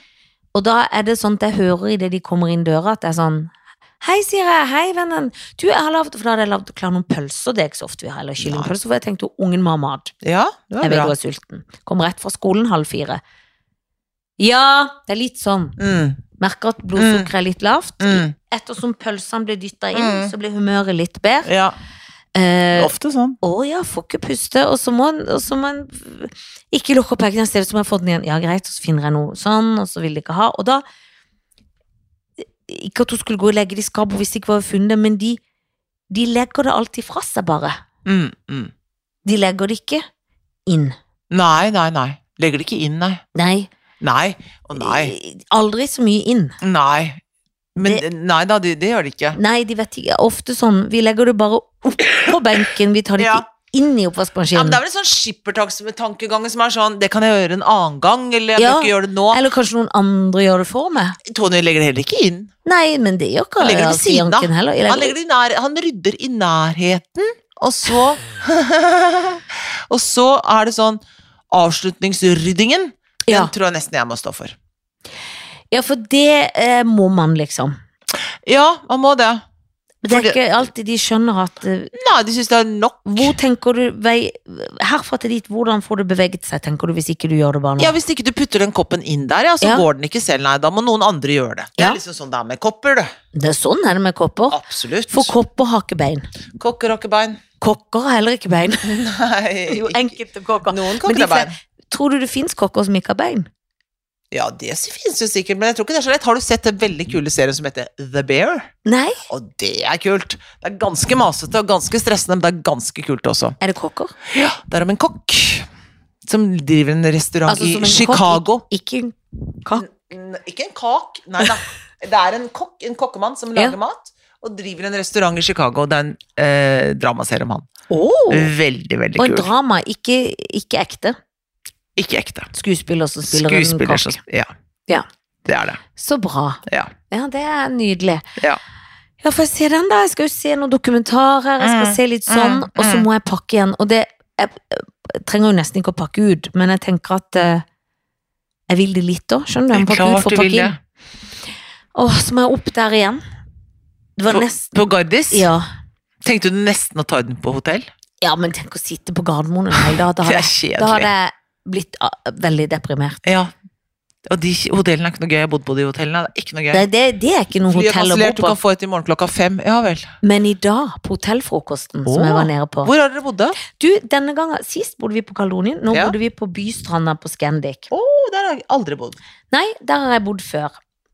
S2: Og da er det sånn at jeg hører idet de kommer inn døra, at det er sånn Hei, sier jeg. Hei, vennen. Du, jeg har lavt For da hadde jeg lavt klar noen pølser, det er ikke så ofte vi har, eller kyllingpølser, for jeg tenkte ungen må ha mat.
S1: Ja, det
S2: Jeg
S1: var
S2: vet
S1: bra.
S2: du er sulten. Kom rett fra skolen halv fire. Ja, det er litt sånn.
S1: Mm,
S2: Merker at blodsukkeret er litt lavt.
S1: mm,
S2: Ettersom pølsene blir dytta inn,
S1: Mm.
S2: så blir humøret litt bedre.
S1: ja.
S2: Eh,
S1: Ofte sånn.
S2: å ja, får ikke puste, og så må en, og så må en ikke lukke opp pakken, jeg ser ut som jeg har fått den igjen. Ja, greit, og så finner jeg noe sånn, og så vil de ikke ha. Og da Ikke at hun skulle gå og legge det i skapet hvis det ikke var funnet, men de, de legger det alltid fra seg, bare.
S1: Mm, mm.
S2: De legger det ikke inn.
S1: Nei, nei, nei. Legger det ikke inn, nei.
S2: Nei.
S1: Nei. Å nei.
S2: Aldri så mye inn.
S1: Nei. Men nei da, det, det gjør det ikke.
S2: Nei, de vet ikke. Ofte sånn. Vi legger det bare opp på benken. Vi tar det
S1: Ja.
S2: ikke inn i
S1: Ja, men
S2: oppvaskmaskinen.
S1: det er vel en sånn skippertakstankegang som er sånn Det kan jeg gjøre en annen gang, eller jeg
S2: Ja.
S1: kan ikke gjøre det nå.
S2: Eller kanskje noen andre gjør det for meg.
S1: Tony legger det heller ikke inn.
S2: Nei, men det gjør ikke
S1: Han legger det ved
S2: alltid
S1: siden av.
S2: Janken heller. Jeg
S1: Han, legger det i nær, han rydder i nærheten, og så (laughs) Og så er det sånn Avslutningsryddingen, den
S2: Ja.
S1: tror jeg nesten jeg må stå for.
S2: ja, for det eh, må man, liksom.
S1: Ja, man må det.
S2: Men det er
S1: Fordi-
S2: ikke alltid de skjønner at eh,
S1: Nei, de syns det er nok.
S2: Hvor tenker du vei, Herfra til dit, hvordan får det beveget seg, tenker du, hvis ikke du gjør det bare nå?
S1: Ja, Hvis ikke du putter den koppen inn der, ja, så
S2: Ja.
S1: går den ikke selv. Nei, da må noen andre gjøre det. Det
S2: Ja.
S1: er liksom sånn det er med kopper, du.
S2: Det er sånn er det med kopper.
S1: Absolutt.
S2: For kopper har ikke bein.
S1: Kokker har ikke bein. (laughs)
S2: Kokker har heller ikke bein.
S1: Nei,
S2: Jo,
S1: ikke-
S2: enkelte kokker.
S1: noen
S2: Men
S1: kokker
S2: de
S1: har bein.
S2: fle- Tror du det fins kokker som ikke har bein?
S1: Ja, det finnes jo sikkert, men jeg tror ikke det er så lett. Har du sett den veldig kule serien som heter The Bear?
S2: Nei.
S1: Og det er kult! Det er ganske masete og ganske stressende, men det er ganske kult også.
S2: Er det kokker?
S1: Ja, Det er om en kokk som driver en restaurant
S2: Altså,
S1: i
S2: som en kokk i-
S1: Chicago.
S2: Ikke en kakk?
S1: N- Ikke en kak, nei da. Det er en kokk, en kokkemann som
S2: Ja.
S1: lager mat, og driver en restaurant i Chicago. Det er en eh, dramaserie om han.
S2: Oh.
S1: Veldig, veldig
S2: Og en
S1: kul.
S2: drama, ikke, ikke ekte.
S1: Ikke ekte.
S2: Skuespiller som spiller
S1: Skuespiller
S2: en
S1: som
S2: kokk.
S1: Ja.
S2: Ja.
S1: Det er det.
S2: Så bra.
S1: Ja.
S2: Ja, det er nydelig.
S1: Ja.
S2: Ja, får jeg se den, da? Jeg skal jo se noen dokumentarer, jeg skal
S1: Mm,
S2: se litt sånn,
S1: mm,
S2: og så
S1: mm.
S2: må jeg pakke igjen. Og det jeg, jeg trenger jo nesten ikke å pakke ut, men jeg tenker at eh, jeg vil det litt òg, skjønner du. Jeg må pakke ut for å pakke inn. Åh, så må jeg opp der igjen. Det var
S1: For-
S2: nesten
S1: På Gardis?
S2: ja.
S1: Tenkte du nesten å ta den på hotell?
S2: ja, men tenk å sitte på Gardermoen en hel dag. Da
S1: Det
S2: hadde
S1: er
S2: jeg- da
S1: kjedelig.
S2: hadde jeg blitt ah, veldig deprimert.
S1: Ja. Og de hotellene er ikke noe gøy. Jeg har bodd på de hotellene. Det er ikke noe gøy.
S2: Det, det, det er ikke noe
S1: Flyet er
S2: hotell å bo
S1: kansellert, du
S2: på.
S1: kan få et i morgen klokka fem. Ja vel.
S2: Men i dag, på hotellfrokosten som
S1: Åh,
S2: jeg var nede på
S1: Hvor har dere bodd, da?
S2: Du, denne gangen, sist bodde vi på Kaledonien, nå
S1: Ja.
S2: bodde vi på Bystranda på Scandic.
S1: Å, Oh, der har jeg aldri bodd.
S2: Nei, der har jeg bodd før.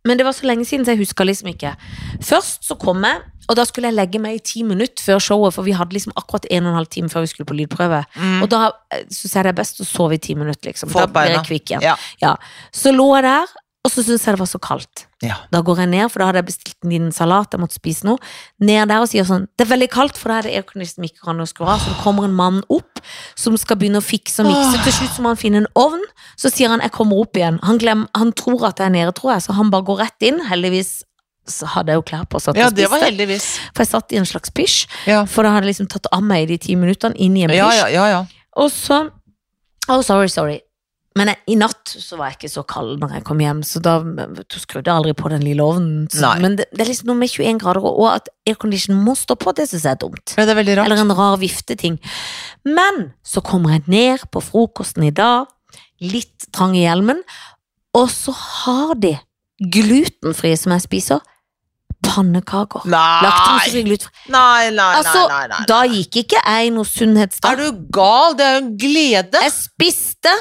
S2: Men det var så lenge siden, så jeg husker liksom ikke. Først så kom jeg, og da skulle jeg legge meg i ti minutter før showet, for vi hadde liksom akkurat en og en halv time før vi skulle på lydprøve. Og da eh, synes jeg det er best å sove i ti minutter, liksom.
S1: Mm. Få
S2: Da
S1: opp
S2: blir
S1: beina.
S2: jeg kvikk igjen.
S1: Ja.
S2: Så lå jeg der, og så syntes jeg det var så kaldt.
S1: Ja.
S2: Da går jeg ned, for da hadde jeg bestilt en liten salat, jeg måtte spise noe. Ned der og sier sånn, det er veldig kaldt, for da er det aircondition mikroen og skru av. Så det kommer en mann opp, som skal begynne å fikse og mikse. Til slutt så må han finne en ovn, så sier han, jeg kommer opp igjen. Han, glem, han tror at jeg er nede, tror jeg, så han bare går rett inn. Heldigvis så hadde jeg jo klær på, så at
S1: ja,
S2: jeg
S1: det var
S2: spiste.
S1: heldigvis.
S2: For jeg satt i en slags pysj,
S1: Ja.
S2: for da hadde jeg liksom tatt av meg de ti minuttene inn i en pysj.
S1: Ja, ja, ja, ja.
S2: Og så Oh, sorry, sorry. Men jeg, i natt så var jeg ikke så kald når jeg kom hjem, så da mm, du skrudde jeg aldri på den lille ovnen. Så,
S1: Nei.
S2: men det, det er liksom noe med 21 grader og og at aircondition må stå på, det syns jeg er dumt.
S1: Ja, Det er veldig rart.
S2: Eller en rar vifteting. Men så kommer jeg ned på frokosten i dag, litt trang i hjelmen, og så har de glutenfrie som jeg spiser, pannekaker.
S1: Nei.
S2: Laktosefri glutenfri.
S1: Nei, nei, nei,
S2: Altså,
S1: nei, nei.
S2: Da gikk ikke jeg i noe
S1: Er
S2: sunnhetsdag.
S1: du gal? Det er jo en glede.
S2: Jeg spiste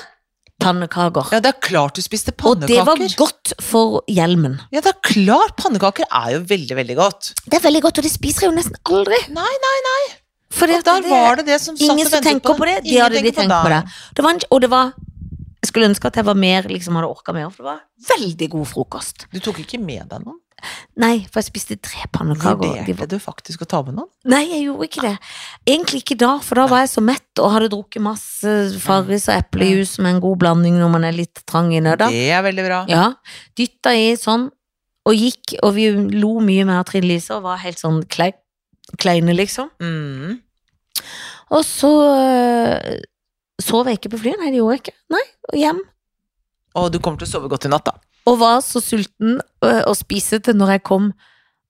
S2: pannekaker.
S1: Ja, det er klart du spiste
S2: Og det var
S1: pannekaker.
S2: godt for hjelmen.
S1: Ja, det er klart. Pannekaker er jo veldig, veldig godt.
S2: Det er veldig godt, og det spiser jeg jo nesten aldri.
S1: Nei, nei, nei.
S2: For
S1: Og der var det det som satt og
S2: ingen som
S1: ventet
S2: tenker på det, de
S1: Ingen
S2: hadde de
S1: tenker
S2: tenkt på det. det var en, og det var Jeg skulle ønske at jeg var mer, liksom hadde orka mer, for det var veldig god frokost.
S1: Du tok ikke med deg noen?
S2: Nei, for jeg spiste tre pannekaker.
S1: Vurderte
S2: De var,
S1: du faktisk å ta med noen?
S2: nei, jeg gjorde ikke det. Egentlig ikke da, for da var jeg så mett og hadde drukket masse Farris og eplejus som er en god blanding når man er litt trang i nøda.
S1: Det er veldig bra.
S2: Ja, dytta i sånn og gikk, og vi lo mye med Trine Lise og var helt sånn klei, kleine, liksom.
S1: Mm.
S2: Og så øh, sov jeg ikke på flyet. Nei, det gjorde jeg ikke. Nei, og hjem.
S1: Og du kommer til å sove godt i natt, da.
S2: Og var så sulten øh, og spisete når jeg kom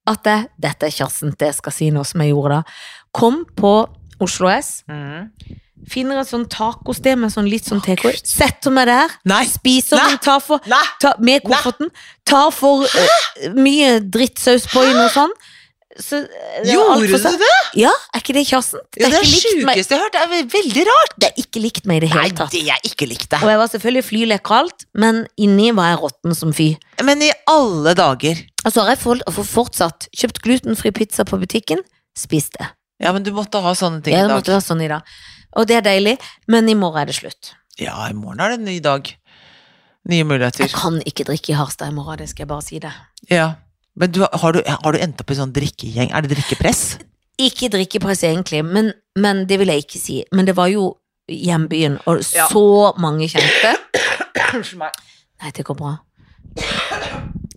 S2: at jeg Dette er Kjersten, det jeg skal si nå som jeg gjorde da. Kom på Oslo S, finner et sånn tacosted med sånn litt sånn takeaway,
S1: Gud.
S2: setter meg der,
S1: Nei!
S2: spiser
S1: Nei.
S2: den, tar for
S1: Nei!
S2: ta, med kofferten. Tar for eh, mye drittsaus på inn og sånn. Så, eh, det er alt for
S1: Gjorde
S2: søtt.
S1: du det?
S2: Ja, er ikke det kjassen?
S1: Ja, det er det
S2: ikke likt meg,
S1: sjukeste jeg har hørt. Det er veldig rart.
S2: det er ikke likt meg i det
S1: Nei,
S2: hele tatt.
S1: det jeg ikke likte.
S2: Og jeg var selvfølgelig flylekker og alt, men inni var jeg råtten som fy.
S1: Men i alle dager
S2: Og så har jeg for, for fortsatt kjøpt glutenfri pizza på butikken, spist det.
S1: Ja, men du måtte ha sånne ting i
S2: Jeg
S1: dag.
S2: måtte være sånn i dag. Og det er deilig, men i morgen er det slutt.
S1: Ja, i morgen er det en ny dag. Nye muligheter.
S2: Jeg kan ikke drikke i Harstad i morgen, det skal jeg bare si det.
S1: Ja. Men du, har, du, har du endt opp i sånn drikkegjeng? Er det drikkepress?
S2: Ikke drikkepress egentlig, men, men det vil jeg ikke si. Men det var jo hjembyen, og
S1: Ja.
S2: så mange kjente.
S1: Unnskyld meg.
S2: Nei, det går bra.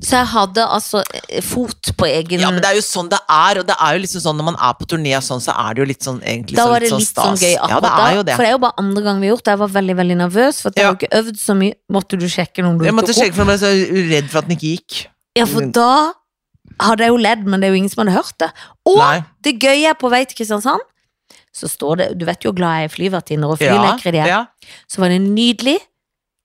S2: Så jeg hadde altså eh, fot på egen
S1: Ja, men det er jo sånn det er, og det er jo liksom sånn når man er på turné og sånn, så er det jo litt sånn egentlig
S2: Da
S1: så
S2: var det litt
S1: stas.
S2: sånn gøy
S1: ja, det
S2: akkurat
S1: er jo
S2: da.
S1: det.
S2: For det er jo bare andre gang vi har gjort det. Jeg var veldig veldig nervøs, for at jeg
S1: Ja.
S2: har jo ikke øvd så mye. Måtte du sjekke noen du
S1: Jeg måtte
S2: tok opp?
S1: sjekke for meg, så jeg er redd for at den ikke gikk.
S2: Ja, for da hadde jeg jo ledd, men det er jo ingen som hadde hørt det. Og
S1: Nei.
S2: det gøye er på vei til Kristiansand, så står det Du vet jo hvor glad jeg er i flyvertinner og flylekkere de er.
S1: ja.
S2: Så var det en nydelig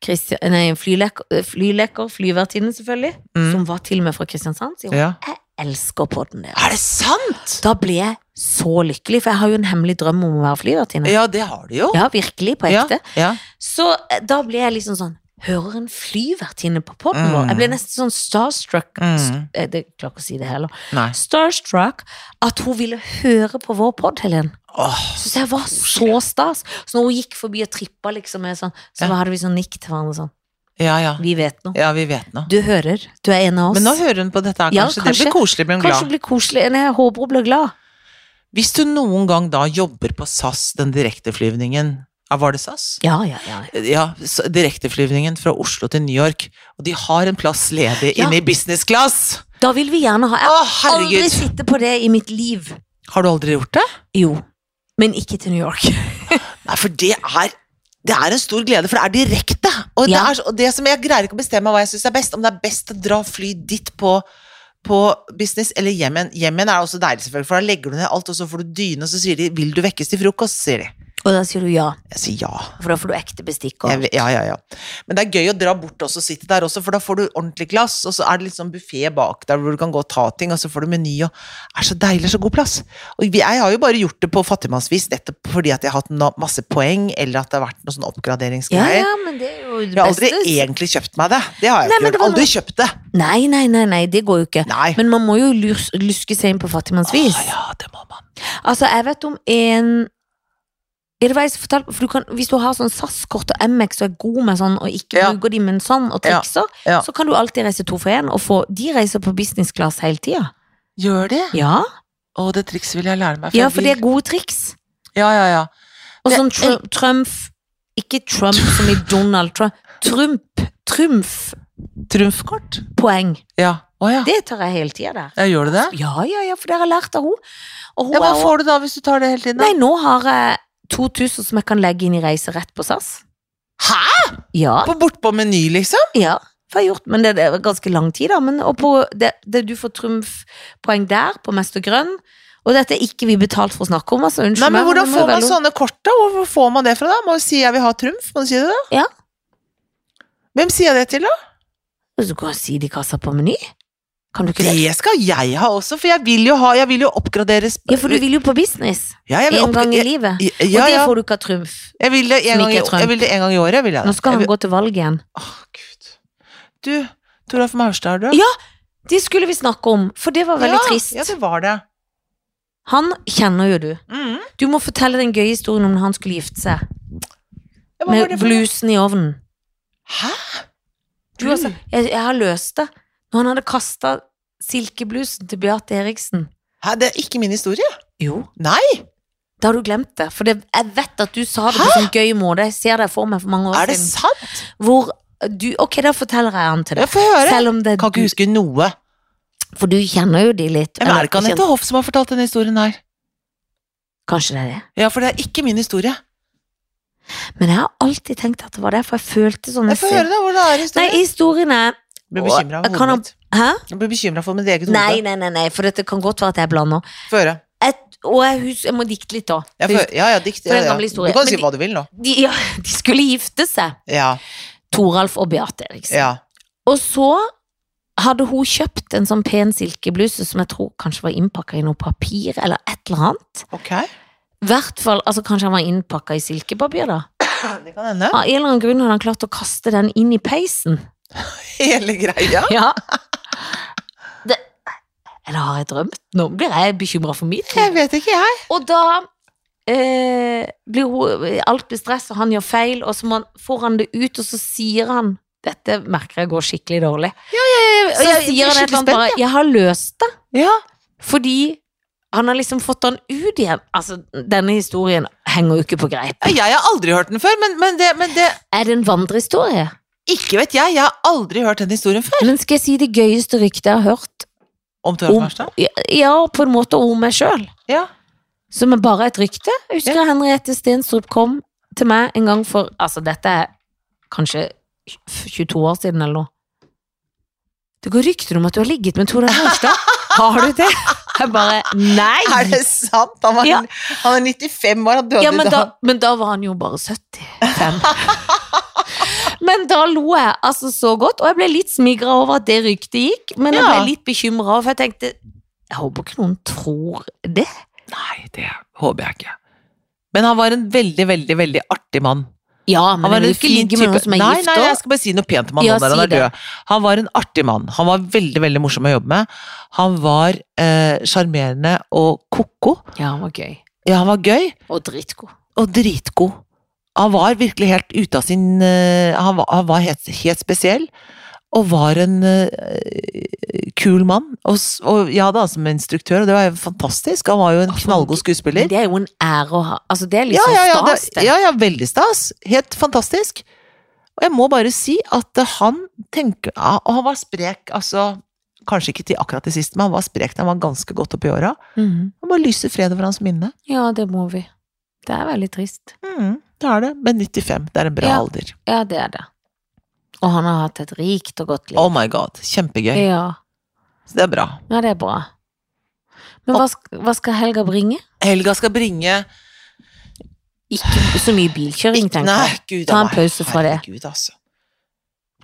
S2: Kristi- nei, flylekker, flylekker flyvertinnen selvfølgelig,
S1: Mm.
S2: som var til og med fra Kristiansand. Sier hun
S1: ja.
S2: elsker podden deres.
S1: Er det sant?!
S2: Da ble jeg så lykkelig, for jeg har jo en hemmelig drøm om å være flyvertinne. Ja.
S1: Ja, det har du jo.
S2: virkelig, på ekte.
S1: Ja.
S2: Så eh, da ble jeg liksom sånn Hører en flyvertinne på podden
S1: Mm.
S2: vår? Jeg ble nesten sånn starstruck.
S1: Mm.
S2: St- eh, Det jeg klarer ikke å si det heller.
S1: Nei.
S2: Starstruck at hun ville høre på vår pod, Helen.
S1: Åh.
S2: Syns jeg var så stas. Så når hun gikk forbi og trippa, liksom, med sånn, så
S1: Ja.
S2: hadde vi sånn nikk til hverandre sånn.
S1: Ja, ja.
S2: Vi vet noe.
S1: Ja, vi vet nå.
S2: Du hører. Du er en av oss.
S1: Men nå hører hun på dette her,
S2: Ja,
S1: kanskje.
S2: kanskje.
S1: Det blir koselig, blir hun
S2: Kanskje
S1: glad.
S2: det blir koselig. Nei, jeg håper hun blir glad.
S1: Hvis du noen gang da jobber på SAS, den direkteflyvningen Ja, Var det SAS?
S2: Ja, ja, ja.
S1: Ja, så- direkteflyvningen fra Oslo til New York. Og de har en plass ledig
S2: Ja.
S1: inne i business class!
S2: Da vil vi gjerne ha
S1: Å,
S2: Jeg har aldri
S1: herregud!
S2: sittet på det i mitt liv.
S1: Har du aldri gjort det?
S2: Jo. Men ikke til New York. (laughs)
S1: Nei, for det er det er en stor glede, for det er direkte. Og, det,
S2: Ja.
S1: er, så- og det som Jeg greier ikke å bestemme hva jeg syns er best. Om det er best å dra fly dit på, på business eller hjem igjen. Hjem igjen er også deilig, selvfølgelig, for da legger du ned alt, og så får du dyne, og så sier de 'vil du vekkes til frokost', sier de.
S2: Og da sier du ja,
S1: Jeg sier ja.
S2: for da får du ekte bestikk.
S1: Jeg,
S2: Og.
S1: vil- ja, ja, ja. Men det er gøy å dra bort også, og sitte der også, for da får du ordentlig glass, og så er det litt sånn buffé bak der hvor du kan gå og ta ting, og så får du meny, og det er så deilig, så god plass. Og vi- jeg har jo bare gjort det på fattigmannsvis, nettopp fordi at jeg har hatt na- masse poeng, eller at det har vært noen sånne
S2: Ja,
S1: oppgraderingsgreier.
S2: ja, men det er jo det
S1: Jeg har aldri e-
S2: beste.
S1: egentlig kjøpt meg det. Det har jeg
S2: Nei,
S1: ikke gjort.
S2: men det var
S1: Aldri kjøpt det.
S2: Nei, nei, nei, nei, det går jo ikke.
S1: Nei.
S2: Men man må jo lus luske seg inn på fattigmannsvis.
S1: Å, ja, det må man.
S2: Altså, jeg vet om en er det hva jeg skal fortelle? For du kan, Hvis du har sånn SAS-kort og MX og er god med sånn, og ikke
S1: Ja.
S2: bruker de, men sånn, og
S1: Ja,
S2: trikser,
S1: ja.
S2: så kan du alltid reise to for én, og få De reiser på business class hele tida.
S1: Gjør det?
S2: Ja.
S1: Å, det trikset vil jeg lære meg.
S2: ja,
S1: jeg
S2: for
S1: vil-
S2: det er gode triks.
S1: Ja, ja, ja.
S2: Og
S1: Det-
S2: sånn tru Trump Ikke Trump som i Donald Trump. Trump. Trumf-poeng.
S1: Trumfkort? Ja. Å ja.
S2: Det tar jeg hele tida der.
S1: ja. Gjør du det?
S2: Ja, ja, ja, for det har jeg lært av henne. Og hun
S1: Ja, hva
S2: er
S1: får du da hvis du tar det hele tiden?
S2: også-
S1: da?
S2: Nei, nå har jeg 2000 som jeg kan legge inn i reise rett på SAS.
S1: Hæ?
S2: Ja,
S1: På, bort på meny, liksom?
S2: ja. For jeg har gjort, men det, det er ganske lang tid, da. Men, og på det, det, du får trumfpoeng der, på Mester Grønn. Og dette er ikke vi betalt for å snakke om, altså. Unnskyld
S1: Nei, men
S2: meg,
S1: Hvordan
S2: det må
S1: får
S2: være
S1: man sånn-
S2: lov.
S1: sånne kort, da? Hvor får man det fra, da? Må du si 'jeg vil ha trumf'? Må du si det, da?
S2: Ja.
S1: Hvem sier jeg det til, da?
S2: Du kan si det i kassa på Meny. Kan du ikke det?
S1: Det skal jeg ha også, for jeg vil jo, ha, jeg vil jo oppgraderes
S2: Ja, for du vil jo på business.
S1: ja, jeg vil
S2: En gang i
S1: oppgra-
S2: livet.
S1: Ja,
S2: Og
S1: ja,
S2: det
S1: ja.
S2: får du ikke av Trumf.
S1: Jeg, vil det en
S2: som
S1: gang i,
S2: ikke er Trump.
S1: jeg vil det en gang i året. Vil jeg. det.
S2: Nå skal
S1: jeg
S2: han
S1: vil,
S2: gå til valg igjen.
S1: Åh, Gud. Du, Toralf Maurstad, er du?
S2: Ja, Det skulle vi snakke om, for det var veldig
S1: Ja,
S2: trist.
S1: Ja, det var det.
S2: Han kjenner jo du.
S1: Mhm.
S2: Du må fortelle den gøye historien om når han skulle gifte seg.
S1: Ja, hva var
S2: Med
S1: det for noe?
S2: blusen i ovnen.
S1: Hæ?
S2: Du, altså,
S1: Mm.
S2: jeg, jeg har løst det. Når han hadde kasta silkeblusen til Beate Eriksen.
S1: Hæ? Det er ikke min historie.
S2: Jo.
S1: Nei,
S2: Da har du glemt det. For det, jeg vet at du sa det på en sånn gøy måte. Jeg ser det for meg for mange
S1: er
S2: år
S1: det
S2: siden.
S1: sant?
S2: Hvor eh, du Ok, da forteller jeg han til
S1: Jeg
S2: deg.
S1: får høre.
S2: Selv om det
S1: Kan ikke huske noe.
S2: For du kjenner jo de litt.
S1: Men er
S2: eller
S1: det ikke Anette Hoff som har fortalt denne historien her?
S2: Kanskje det er det.
S1: Ja, for det er ikke min historie.
S2: Men jeg har alltid tenkt at det var det, for jeg følte sånn
S1: Jeg får høre da, hvordan er
S2: Nei,
S1: historien?
S2: historien er
S1: Jeg blir bekymra
S2: Jeg
S1: for
S2: kan
S1: hodet
S2: ha-
S1: mitt.
S2: Hæ?
S1: Jeg blir bekymret for mitt eget hode.
S2: Nei, nei, nei, nei, for dette kan godt være at jeg blander.
S1: Få høre.
S2: Et, og jeg, hus, jeg må dikte litt, da.
S1: Jeg får, ja, ja, dikt.
S2: For en
S1: Ja, ja.
S2: gammel
S1: Du
S2: historie.
S1: kan
S2: Men
S1: si
S2: de-
S1: hva du vil nå.
S2: De, ja, (laughs) de skulle gifte seg,
S1: Ja,
S2: Toralf og Beate Eriksen.
S1: ja.
S2: Og så hadde hun kjøpt en sånn pen silkebluse som jeg tror kanskje var innpakka i noe papir eller et eller annet.
S1: Ok.
S2: Hvert fall, altså Kanskje han var innpakka i silkepapir, da.
S1: Det kan hende.
S2: Av en eller annen grunn hadde han klart å kaste den inn i peisen.
S1: Hele greia.
S2: Ja. Det, eller har jeg drømt? Nå blir jeg bekymra for mitt. liv.
S1: Jeg vet ikke, jeg.
S2: Og da eh, blir hun, alt blir stress, og han gjør feil, og så må han, får han det ut, og så sier han Dette merker jeg går skikkelig dårlig.
S1: jeg-
S2: Så
S1: jeg- jeg blir
S2: sier han et eller
S1: skikkelig
S2: annet bare Jeg har løst det.
S1: Ja.
S2: Fordi han har liksom fått han ut igjen. Altså, denne historien henger jo ikke på greip.
S1: Ja, Jeg har aldri hørt den før, men, men, det, men det
S2: Er det en vandrehistorie?
S1: Ikke vet jeg, jeg har aldri hørt den historien før.
S2: Men skal jeg si det gøyeste ryktet jeg har hørt?
S1: Om Tora
S2: Om-
S1: Farstad?
S2: Ja, på en måte om meg sjøl.
S1: Ja.
S2: Som er bare et rykte. Jeg husker
S1: Ja.
S2: Henriette Stenstrup kom til meg en gang for Altså, dette er kanskje 22 år siden eller noe. Det går rykter om at du har ligget med Tora (laughs) Farstad. Har du det? Jeg bare
S1: Er
S2: Nei!
S1: det sant? Han, var,
S2: Ja.
S1: han er 95 år, han døde
S2: Ja, men
S1: i dag.
S2: da, men da var han jo bare 75. (laughs) Men da lo jeg altså så godt, og jeg ble litt smigra over at det ryktet gikk. Men jeg
S1: Ja.
S2: ble litt bekymra, for jeg tenkte Jeg håper ikke noen tror det.
S1: Nei, det håper jeg ikke. Men han var en veldig, veldig veldig artig mann.
S2: Ja, men
S1: Han var
S2: jeg vil
S1: en
S2: ikke
S1: fin
S2: ligge med
S1: type.
S2: noen som er
S1: nei,
S2: gift
S1: nei,
S2: også.
S1: jeg skal bare si noe pent om han
S2: Ja,
S1: nå når
S2: si
S1: han er
S2: det.
S1: død. Han var en artig mann. Han var veldig veldig morsom å jobbe med. Han var eh, sjarmerende og ko-ko.
S2: Ja, han var gøy.
S1: Ja, han var gøy
S2: Og dritgod.
S1: og dritgod. Han var virkelig helt ute av sin eh, Han var, han var helt, helt spesiell. Og var en eh, kul mann. Og, s- og jeg hadde han som instruktør, og det var jo fantastisk. Han var jo en
S2: Altså,
S1: knallgod skuespiller.
S2: Men det er jo en ære å ha. Altså, det er
S1: Ja,
S2: liksom
S1: ja, ja,
S2: stas,
S1: det,
S2: det.
S1: ja, ja, veldig stas. Helt fantastisk. Og jeg må bare si at eh, han tenker ja, Og han var sprek, altså Kanskje ikke til akkurat det siste, men han var sprek da han var ganske godt oppi åra.
S2: Mhm.
S1: Han må lyse fred over hans minne.
S2: ja, det må vi. Det er veldig trist.
S1: Mm, det er det. Men 95, det er en bra
S2: Ja.
S1: alder.
S2: Ja, det er det. Og han har hatt et rikt og godt liv.
S1: Oh my god, kjempegøy.
S2: ja.
S1: Så det er bra.
S2: ja, det er bra. Men hva, sk- hva skal helga bringe?
S1: Helga skal bringe
S2: Ikke så mye bilkjøring, tenker
S1: Nei,
S2: jeg.
S1: gud
S2: Ta
S1: a
S2: en
S1: meg.
S2: pause fra det.
S1: Herregud, altså.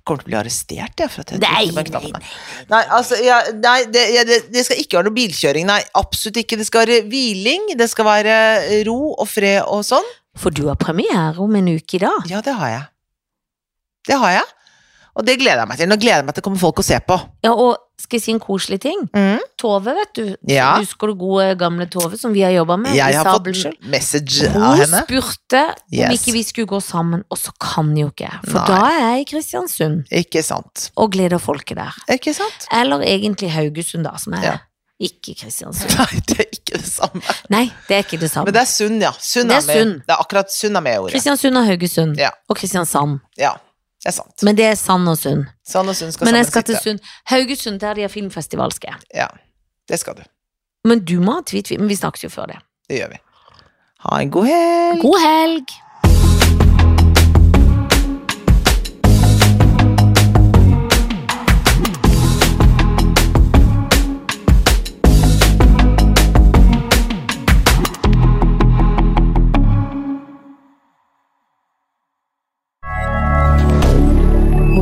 S1: Kommer til å bli arrestert, jeg. For at jeg
S2: Nei,
S1: trykker på en knapp.
S2: nei, nei.
S1: Nei, altså, ja, nei det, ja, det, det skal ikke være noe bilkjøring. Nei, absolutt ikke. Det skal være hviling, det skal være eh, ro og fred og sånn.
S2: For du har premiere om en uke i dag.
S1: Ja, det har jeg. Det har jeg. Og det gleder jeg meg til. Nå gleder jeg meg til det kommer folk og ser på. Mm.
S2: Ja, og skal jeg si en koselig ting? Tove, vet du.
S1: Ja.
S2: Husker du gode gamle Tove som vi har jobba med? Mm. i
S1: Jeg har fått
S2: Stabelskjell?
S1: message av
S2: Hun
S1: henne.
S2: spurte om
S1: Yes.
S2: ikke vi skulle gå sammen, og så kan jo ikke jeg. For
S1: Nei.
S2: da er jeg i Kristiansund
S1: Ikke sant.
S2: og gleder folket der.
S1: Ikke sant? (laughs)
S2: Eller egentlig Haugesund, da, som er
S1: Ja.
S2: ikke Kristiansund.
S1: Nei, det er ikke det samme.
S2: Nei, det er ikke det samme.
S1: Men det er Sund, ja. Sund
S2: Det
S1: er,
S2: er
S1: med.
S2: Sund.
S1: Det er akkurat Sund er med i ordet.
S2: Kristiansund og Haugesund,
S1: Ja.
S2: og Kristiansand.
S1: Ja, det er sant.
S2: Men det er Sand og Sund.
S1: Sand og Sund skal
S2: Men jeg
S1: sammen
S2: skal til
S1: sitte.
S2: Sund. Haugesund, der de har filmfestival, skal jeg.
S1: Ja, det skal du.
S2: Men du må ha tweet, men vi snakket jo før det.
S1: Det gjør vi. Ha en god helg.
S2: God helg!